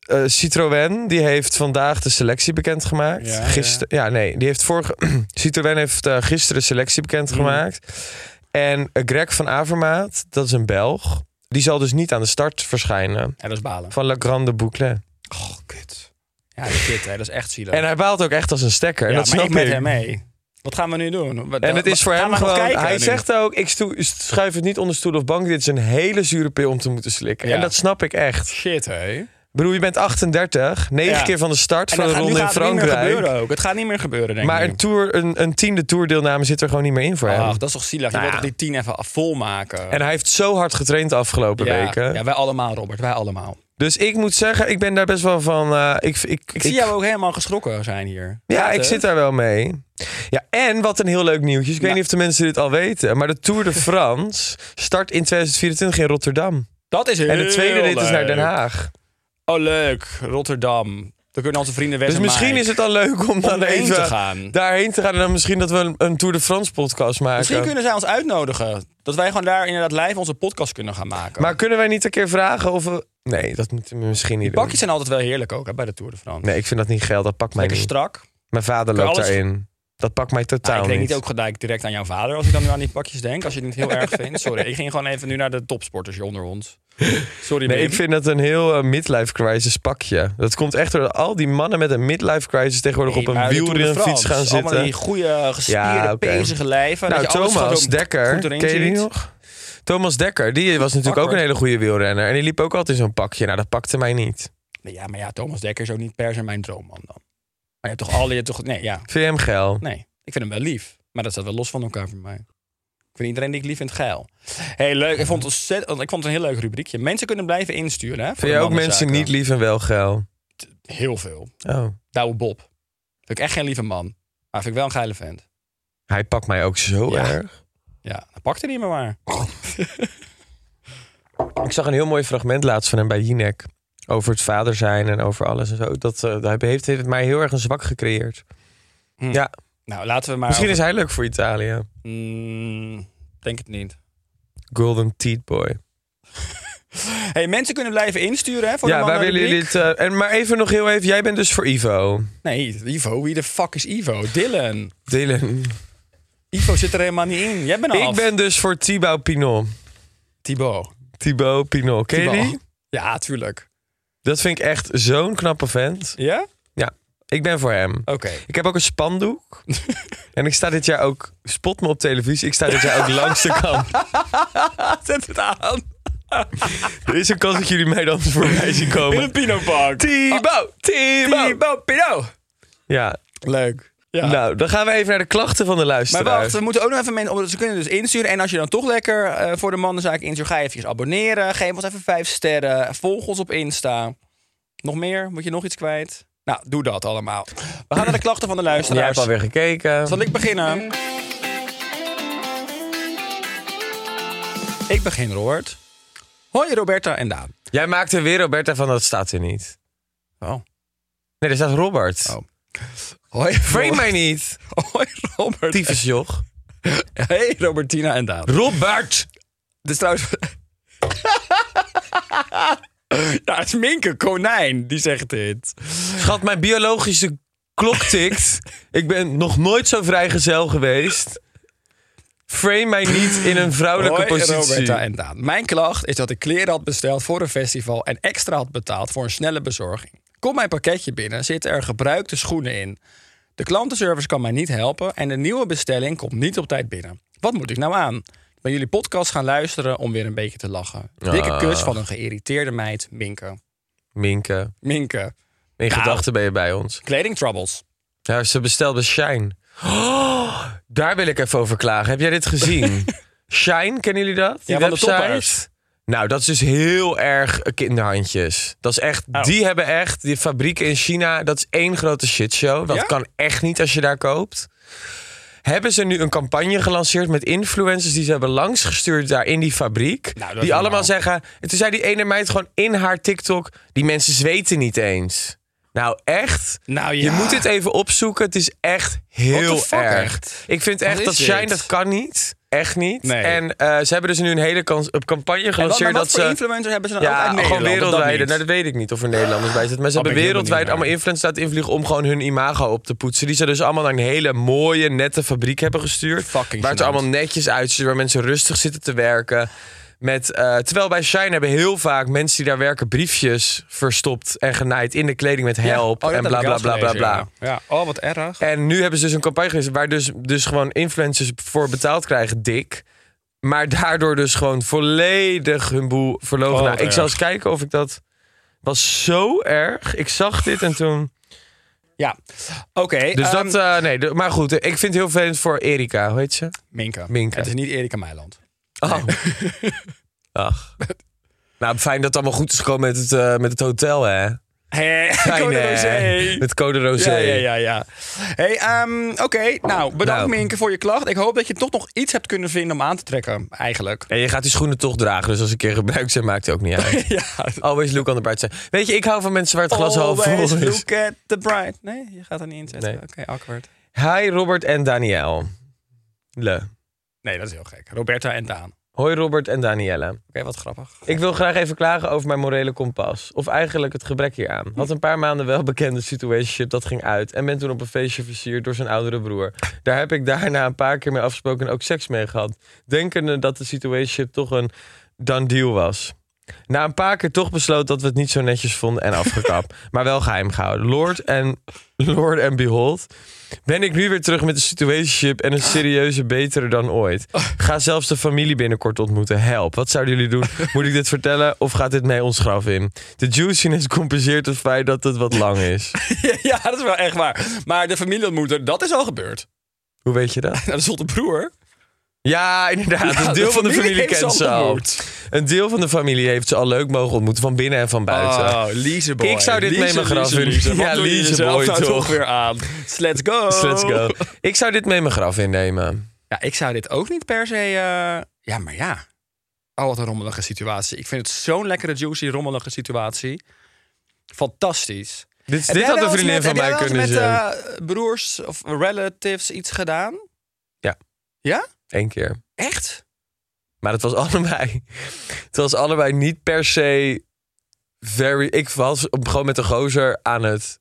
S3: Eh, Citroën die heeft vandaag de selectie bekendgemaakt.
S2: Ja,
S3: Gister, ja. nee, die heeft vorige. Citroën heeft eh, gisteren de selectie bekendgemaakt.
S2: Mm.
S3: En eh, Greg van Avermaat, dat is een Belg, die zal dus niet aan de start verschijnen
S2: Ja, dat is balen.
S3: van La Grande Boucle.
S2: Oh, kut. Ja, shit, hè, dat is echt zielig.
S3: En hij baalt ook echt als een stekker. En
S2: ja,
S3: dat
S2: maar
S3: snap
S2: ik met
S3: ik.
S2: hem mee. Wat gaan we nu doen? Wat-
S3: En het is voor
S2: gaan
S3: hem
S2: we nog
S3: gewoon.
S2: kijken
S3: Hij
S2: nu?
S3: zegt ook: ik stoe- schuif het niet onder stoel of bank. Dit is een hele zure pil om te moeten slikken.
S2: Ja.
S3: En dat snap ik echt.
S2: Shit, hé.
S3: Ik bedoel, je bent 38, 9
S2: Ja.
S3: keer van de start
S2: En
S3: van
S2: dan
S3: de
S2: gaat, nu
S3: ronde in
S2: gaat het niet meer
S3: Frankrijk.
S2: gebeuren ook. Het gaat niet meer gebeuren, denk
S3: Maar
S2: ik.
S3: een, tour, een, een tiende toerdeelname zit er gewoon niet meer in voor hem.
S2: Ah, Ach, dat is toch zielig. Je
S3: Nou
S2: wilt toch
S3: ja.
S2: die tien even volmaken.
S3: En hij heeft zo hard getraind de afgelopen
S2: ja,
S3: weken.
S2: ja, wij allemaal, Robert. Wij allemaal.
S3: Dus ik moet zeggen, ik ben daar best wel van. eh, ik, ik,
S2: Ik zie jou ook helemaal geschrokken zijn hier.
S3: Ja,
S2: Gaat
S3: ik
S2: het?
S3: zit daar wel mee. Ja, en wat een heel leuk nieuwtje. Ik weet niet of de mensen dit al weten. Maar de Tour de France start in 2024 in Rotterdam.
S2: Dat is heel
S3: En de tweede rit is naar Den
S2: leuk.
S3: Haag.
S2: Oh, leuk. Rotterdam. Dan kunnen onze vrienden weg.
S3: Dus misschien is het al leuk om dan
S2: heen
S3: even
S2: te gaan.
S3: daarheen te gaan. En dan misschien dat we een, een Tour de France podcast maken.
S2: Misschien kunnen zij ons uitnodigen. Dat wij gewoon daar inderdaad live onze podcast kunnen gaan maken.
S3: Maar kunnen wij niet een keer vragen of we... Nee, dat moeten we misschien niet doen.
S2: Bakjes zijn altijd wel heerlijk ook hè, bij de Tour de France.
S3: Nee, ik vind dat niet geld. Dat pakt mij
S2: Lekker
S3: niet.
S2: strak.
S3: Mijn vader
S2: Kun je
S3: loopt
S2: alles-
S3: daarin. Dat pakt mij totaal
S2: Nou, ik denk
S3: niet.
S2: niet ook gelijk direct aan jouw vader als ik dan nu aan die pakjes denk. Als je het niet heel erg vindt. Sorry, ik ging gewoon even nu naar de topsporters hier onder ons. Sorry,
S3: Nee,
S2: Wim.
S3: ik vind dat een heel eh, midlife crisis pakje. Dat komt echt door al die mannen met een midlife crisis tegenwoordig
S2: Nee,
S3: op een
S2: maar de
S3: wiel
S2: Tour de
S3: in een
S2: France,
S3: fiets gaan
S2: Allemaal
S3: zitten.
S2: die goede, gespierde,
S3: Ja, oké.
S2: pezige lijven.
S3: Nou,
S2: dat je alles gewoon
S3: Thomas
S2: goed
S3: Dekker,
S2: erin
S3: ken je die
S2: ziet.
S3: nog? Thomas Dekker, die was natuurlijk ook
S2: Bakker.
S3: een hele goede wielrenner. En die liep ook altijd in zo'n pakje. Nou, dat pakte mij niet.
S2: Nee, Ja, maar ja, Thomas Dekker is ook niet per se mijn droomman dan. Maar je hebt toch al je hebt toch... Nee, ja.
S3: Vind je hem geil?
S2: Nee, ik vind hem wel lief. Maar dat staat wel los van elkaar voor mij. Ik vind iedereen die ik lief vind geil. hey, leuk. Ik vond, het ontzettend, ik vond het een heel leuk rubriekje. Mensen kunnen blijven insturen. Hè, voor
S3: Vind je
S2: de
S3: ook mensen
S2: mannenzaken.
S3: niet lief en wel geil?
S2: Heel veel.
S3: Oh,
S2: Douwe Bob. Vind ik echt geen lieve man. Maar vind ik wel een geile vent.
S3: hij pakt mij ook zo
S2: Ja.
S3: erg.
S2: Ja, dan pakt hij niet meer maar.
S3: Ik zag een heel mooi fragment laatst van hem bij Jinek. Over het vader zijn en over alles en zo. Dat, eh, hij heeft, heeft mij heel erg een zwak gecreëerd.
S2: Hm.
S3: Ja,
S2: Nou, laten we maar...
S3: Misschien
S2: over-
S3: is hij leuk voor Italië.
S2: Mm, denk het niet.
S3: Golden Teat Boy.
S2: hey, mensen kunnen blijven insturen hè, voor de
S3: ja, wij willen jullie
S2: mannenrubriek.
S3: het. eh, en maar even nog heel even. Jij bent dus voor Ivo.
S2: Nee, Ivo. Wie de fuck is Ivo? Dylan.
S3: Dylan.
S2: Ivo zit er helemaal niet in. Jij bent al
S3: Ik
S2: Nou, af.
S3: ben dus voor Thibaut Pinot.
S2: Thibaut.
S3: Thibaut Pinot. Ken je
S2: Thibaut.
S3: die?
S2: Ja, tuurlijk.
S3: Dat vind ik echt zo'n knappe vent.
S2: Ja?
S3: Ja, ik ben voor hem.
S2: Oké.
S3: Ik heb ook een spandoek. en ik sta dit jaar ook. Spot me op televisie. Ik sta dit jaar ook langs de kant.
S2: Zet het aan.
S3: Er is een kans dat jullie mij dan voorbij zien
S2: In een
S3: komen.
S2: Pinopark.
S3: Thibaut! Ah, Thibaut!
S2: Thibaut Pinot.
S3: Ja.
S2: Leuk. Ja.
S3: Nou, dan gaan we even naar de klachten van de
S2: maar
S3: luisteraar.
S2: wacht, we moeten ook nog even mensen... Ze kunnen dus insturen. En als je dan toch lekker eh, voor de mannenzaak instuurt... ga je even abonneren. Geef ons even vijf sterren. Volg ons op Insta. Nog meer? Moet je nog iets kwijt? Nou, doe dat allemaal. We gaan naar de klachten van de
S3: Jij hebt
S2: luisteraars.
S3: alweer gekeken.
S2: Zal ik beginnen? Ik begin, Robert. Hoi Roberta en Daan.
S3: Jij maakte weer Roberta van dat staat er niet.
S2: Oh.
S3: Nee, er staat Robert.
S2: Oh. Hoi,
S3: Frame mij niet.
S2: Hoi Robert.
S3: Tyfusjoch.
S2: Hey Robertina en Daan.
S3: Robert!
S2: Dus trouwens... Ja, het is Minke, konijn, die zegt dit.
S3: Schat, mijn biologische klok tikt. Ik ben nog nooit zo vrijgezel geweest. Frame mij niet in een vrouwelijke
S2: Hoi,
S3: positie.
S2: Roberta en Daan. Mijn klacht is dat ik kleren had besteld voor een festival en extra had betaald voor een snelle bezorging. Komt mijn pakketje binnen, zitten er gebruikte schoenen in. De klantenservice kan mij niet helpen en de nieuwe bestelling komt niet op tijd binnen. Wat moet ik nou aan? Ik ben jullie podcast gaan luisteren om weer een beetje te lachen. Dikke kus van een geïrriteerde meid, Minke.
S3: Minke,
S2: Minke. Nou.
S3: in gedachten ben je bij ons.
S2: Kleding troubles.
S3: Ja, ze bestelde Shine. Oh, daar wil ik even over klagen. Heb jij dit gezien? Shine, kennen jullie dat? Die
S2: Ja, van de
S3: website?
S2: toppers.
S3: Nou, dat is dus heel erg kinderhandjes. Dat is echt,
S2: Oh.
S3: die hebben echt, die fabrieken in China, dat is één grote shitshow. Dat
S2: Ja?
S3: kan echt niet als je daar koopt. Hebben ze nu een campagne gelanceerd met influencers die ze hebben langsgestuurd daar in die fabriek?
S2: Nou, dat is
S3: die allemaal
S2: normaal.
S3: zeggen. En toen zei die ene meid gewoon in haar TikTok: die mensen zweten niet eens. Nou, echt?
S2: Nou,
S3: Je
S2: ja.
S3: moet dit even opzoeken. Het is echt heel
S2: fuck,
S3: erg.
S2: echt?
S3: Ik vind
S2: Wat
S3: echt
S2: is
S3: dat Shine
S2: dit?
S3: dat kan niet. Echt niet.
S2: Nee.
S3: En eh, ze hebben dus nu een hele kans, een campagne
S2: En wat, maar
S3: gelanceerd
S2: wat
S3: dat
S2: voor
S3: ze.
S2: influencers hebben ze dan ook
S3: Ja,
S2: uit
S3: gewoon
S2: Nederland, of dat
S3: wereldwijd.
S2: niet?
S3: Nou, dat weet ik niet of er Nederlanders bij zitten. Maar ze
S2: Oh,
S3: hebben
S2: ben ik heel
S3: wereldwijd
S2: benieuwd naar.
S3: allemaal influencers laten invliegen om gewoon hun imago op te poetsen. Die ze dus allemaal naar een hele mooie, nette fabriek hebben gestuurd.
S2: Fucking
S3: waar het
S2: gênant.
S3: allemaal netjes uitziet, waar mensen rustig zitten te werken. Met, eh, terwijl bij Shine hebben heel vaak mensen die daar werken briefjes verstopt en genaaid in de kleding met help
S2: Oh, dat
S3: en
S2: heb
S3: bla
S2: ik
S3: bla
S2: laatst
S3: bla bla
S2: gelezen,
S3: bla.
S2: Ja. Ja. Oh, wat erg.
S3: En nu hebben ze dus een campagne geweest waar dus, dus gewoon influencers voor betaald krijgen, dik. Maar daardoor dus gewoon volledig hun boel verlogen.
S2: Oh, wat
S3: nou, ik
S2: erg.
S3: zal eens kijken of ik dat... Was zo erg. Ik zag dit en toen...
S2: Ja, oké.
S3: Dus
S2: ehm,
S3: dat... eh, nee, de- maar goed. eh, Ik vind het heel vervelend voor Erika. Hoe heet ze?
S2: Minke.
S3: Minke.
S2: Het is niet Erika Meiland.
S3: Oh. Ach. Nou, fijn dat het allemaal goed is gekomen met het, eh, met het hotel, hè?
S2: Hé,
S3: Fijn,
S2: Code
S3: hè?
S2: Rosé.
S3: Met Code Rosé.
S2: Ja, ja, ja. ja. Hey, ehm, oké. Nou, bedankt
S3: Nou.
S2: Minke voor je klacht. Ik hoop dat je toch nog iets hebt kunnen vinden om aan te trekken, eigenlijk.
S3: En je gaat die schoenen toch dragen. Dus als ze een keer gebruikt zijn, maakt het ook niet uit.
S2: ja.
S3: Always look on the bright side. Weet je, ik hou van mensen Oh, waar het glas half
S2: Always
S3: vol is.
S2: look at the bright. Nee, je gaat er niet in zetten.
S3: Nee.
S2: Oké, awkward.
S3: Hi Robert en Danielle. Le.
S2: Nee, dat is heel gek. Roberta en Daan. Oké,
S3: Hoi Robert en Danielle.
S2: wat grappig.
S3: Ik wil graag even klagen over mijn morele kompas. Of eigenlijk het gebrek hieraan. Had een paar maanden wel bekende situationship, dat ging uit. En ben toen op een feestje versierd door zijn oudere broer. Daar heb ik daarna een paar keer mee afgesproken en ook seks mee gehad. Denkende dat de situationship toch een done deal was. Na een paar keer toch besloot dat we het niet zo netjes vonden en afgekapt. maar wel geheim gehouden. Lord en, Lord and behold, ben ik nu weer terug met een situationship en een serieuze betere dan ooit. Ga zelfs de familie binnenkort ontmoeten. Help, wat zouden jullie doen? Moet ik dit vertellen of gaat dit mee ons graf in? De juiciness compenseert het feit dat het wat lang is.
S2: ja, dat is wel echt waar. Maar de familieontmoeter, dat is al gebeeld.
S3: Hoe weet je dat?
S2: Dat is tot de broer.
S3: Ja, inderdaad.
S2: Ja,
S3: een deel van de familie
S2: heeft
S3: kent ze al.
S2: ontmoet.
S3: Een deel van de familie heeft ze al leuk mogen ontmoeten, van binnen en van buiten.
S2: Oh, Lieseboy.
S3: Ik zou dit mee mijn graf
S2: Liese,
S3: willen.
S2: Liese. Wat
S3: Ja,
S2: doe je
S3: Lieseboy
S2: jezelf nou
S3: toch.
S2: toch weer aan? Let's go.
S3: Dus let's go. Ik zou dit mee mijn graf innemen.
S2: Ja, ik zou dit ook niet per se... eh, Ja, maar ja. Oh, wat een rommelige situatie. Ik vind het zo'n lekkere, juicy, rommelige situatie. Fantastisch.
S3: Dit,
S2: Heb
S3: dit had
S2: jij
S3: een
S2: wel eens
S3: vriendin
S2: met-
S3: van
S2: heb jij
S3: mij
S2: wel eens
S3: kunnen
S2: met
S3: zijn.
S2: eh, broers of relatives iets gedaan?
S3: Ja.
S2: Ja?
S3: Eén keer.
S2: Echt?
S3: Maar het was allebei. Het was allebei niet per se very. Ik was op- gewoon met de gozer aan het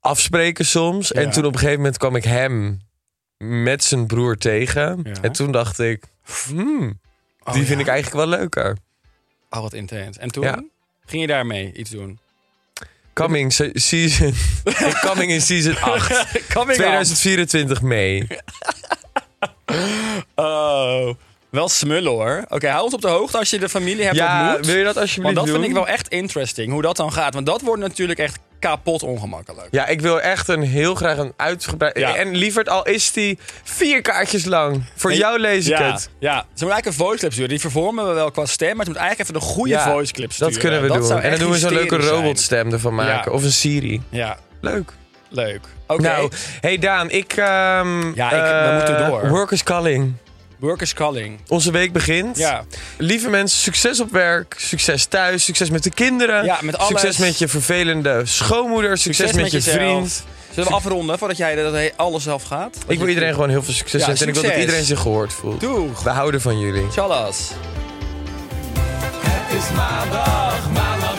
S3: afspreken soms.
S2: Ja.
S3: En toen op een gegeven moment kwam ik hem met zijn broer tegen.
S2: Ja.
S3: En toen dacht ik, hmm,
S2: Oh,
S3: die
S2: ja.
S3: vind ik eigenlijk wel leuker.
S2: Oh, wat intens. En toen
S3: Ja.
S2: ging je daarmee iets doen?
S3: Coming se- season. coming in season 8.
S2: Coming
S3: 2024 mee.
S2: Oh, wel smullen hoor. Oké, hou ons op de hoogte als je de familie hebt
S3: Ja,
S2: ontmoet.
S3: wil je dat alsjeblieft
S2: Want dat
S3: doen?
S2: vind ik wel echt interesting, hoe dat dan gaat. Want dat wordt natuurlijk echt kapot ongemakkelijk.
S3: Ja, ik wil echt een heel graag een uitgebreid...
S2: Ja.
S3: En lieverd, al is die vier kaartjes lang. Voor jou lees ik
S2: ja,
S3: het.
S2: Ja, ze moeten eigenlijk een voice clip sturen. Die vervormen we wel qua stem, maar ze moeten eigenlijk even een goede
S3: Ja,
S2: voice clip sturen.
S3: Dat kunnen we doen.
S2: zou
S3: En dan
S2: echt
S3: doen we zo'n leuke
S2: hysterisch zijn.
S3: robotstem ervan maken.
S2: Ja.
S3: Of een Siri.
S2: Ja,
S3: Leuk.
S2: leuk. Oké,
S3: Nou, hey Daan, ik... ehm,
S2: Ja, ik- we
S3: eh,
S2: moeten door.
S3: Workers calling.
S2: workers calling.
S3: Onze week begint.
S2: Ja.
S3: Lieve mensen, succes op werk, succes thuis, succes met de kinderen.
S2: Ja, met alles.
S3: Succes met je vervelende schoonmoeder, succes,
S2: Succes
S3: met, je
S2: jezelf.
S3: vriend.
S2: Zullen we afronden voordat jij dat he- alles zelf gaat?
S3: Ik wil iedereen gewoon heel veel succes
S2: Ja,
S3: wensen. En ik wil dat
S2: succes.
S3: iedereen zich gehoord voelt.
S2: Doeg.
S3: We houden van jullie.
S2: Tjallas.
S1: Het is maandag, maandag.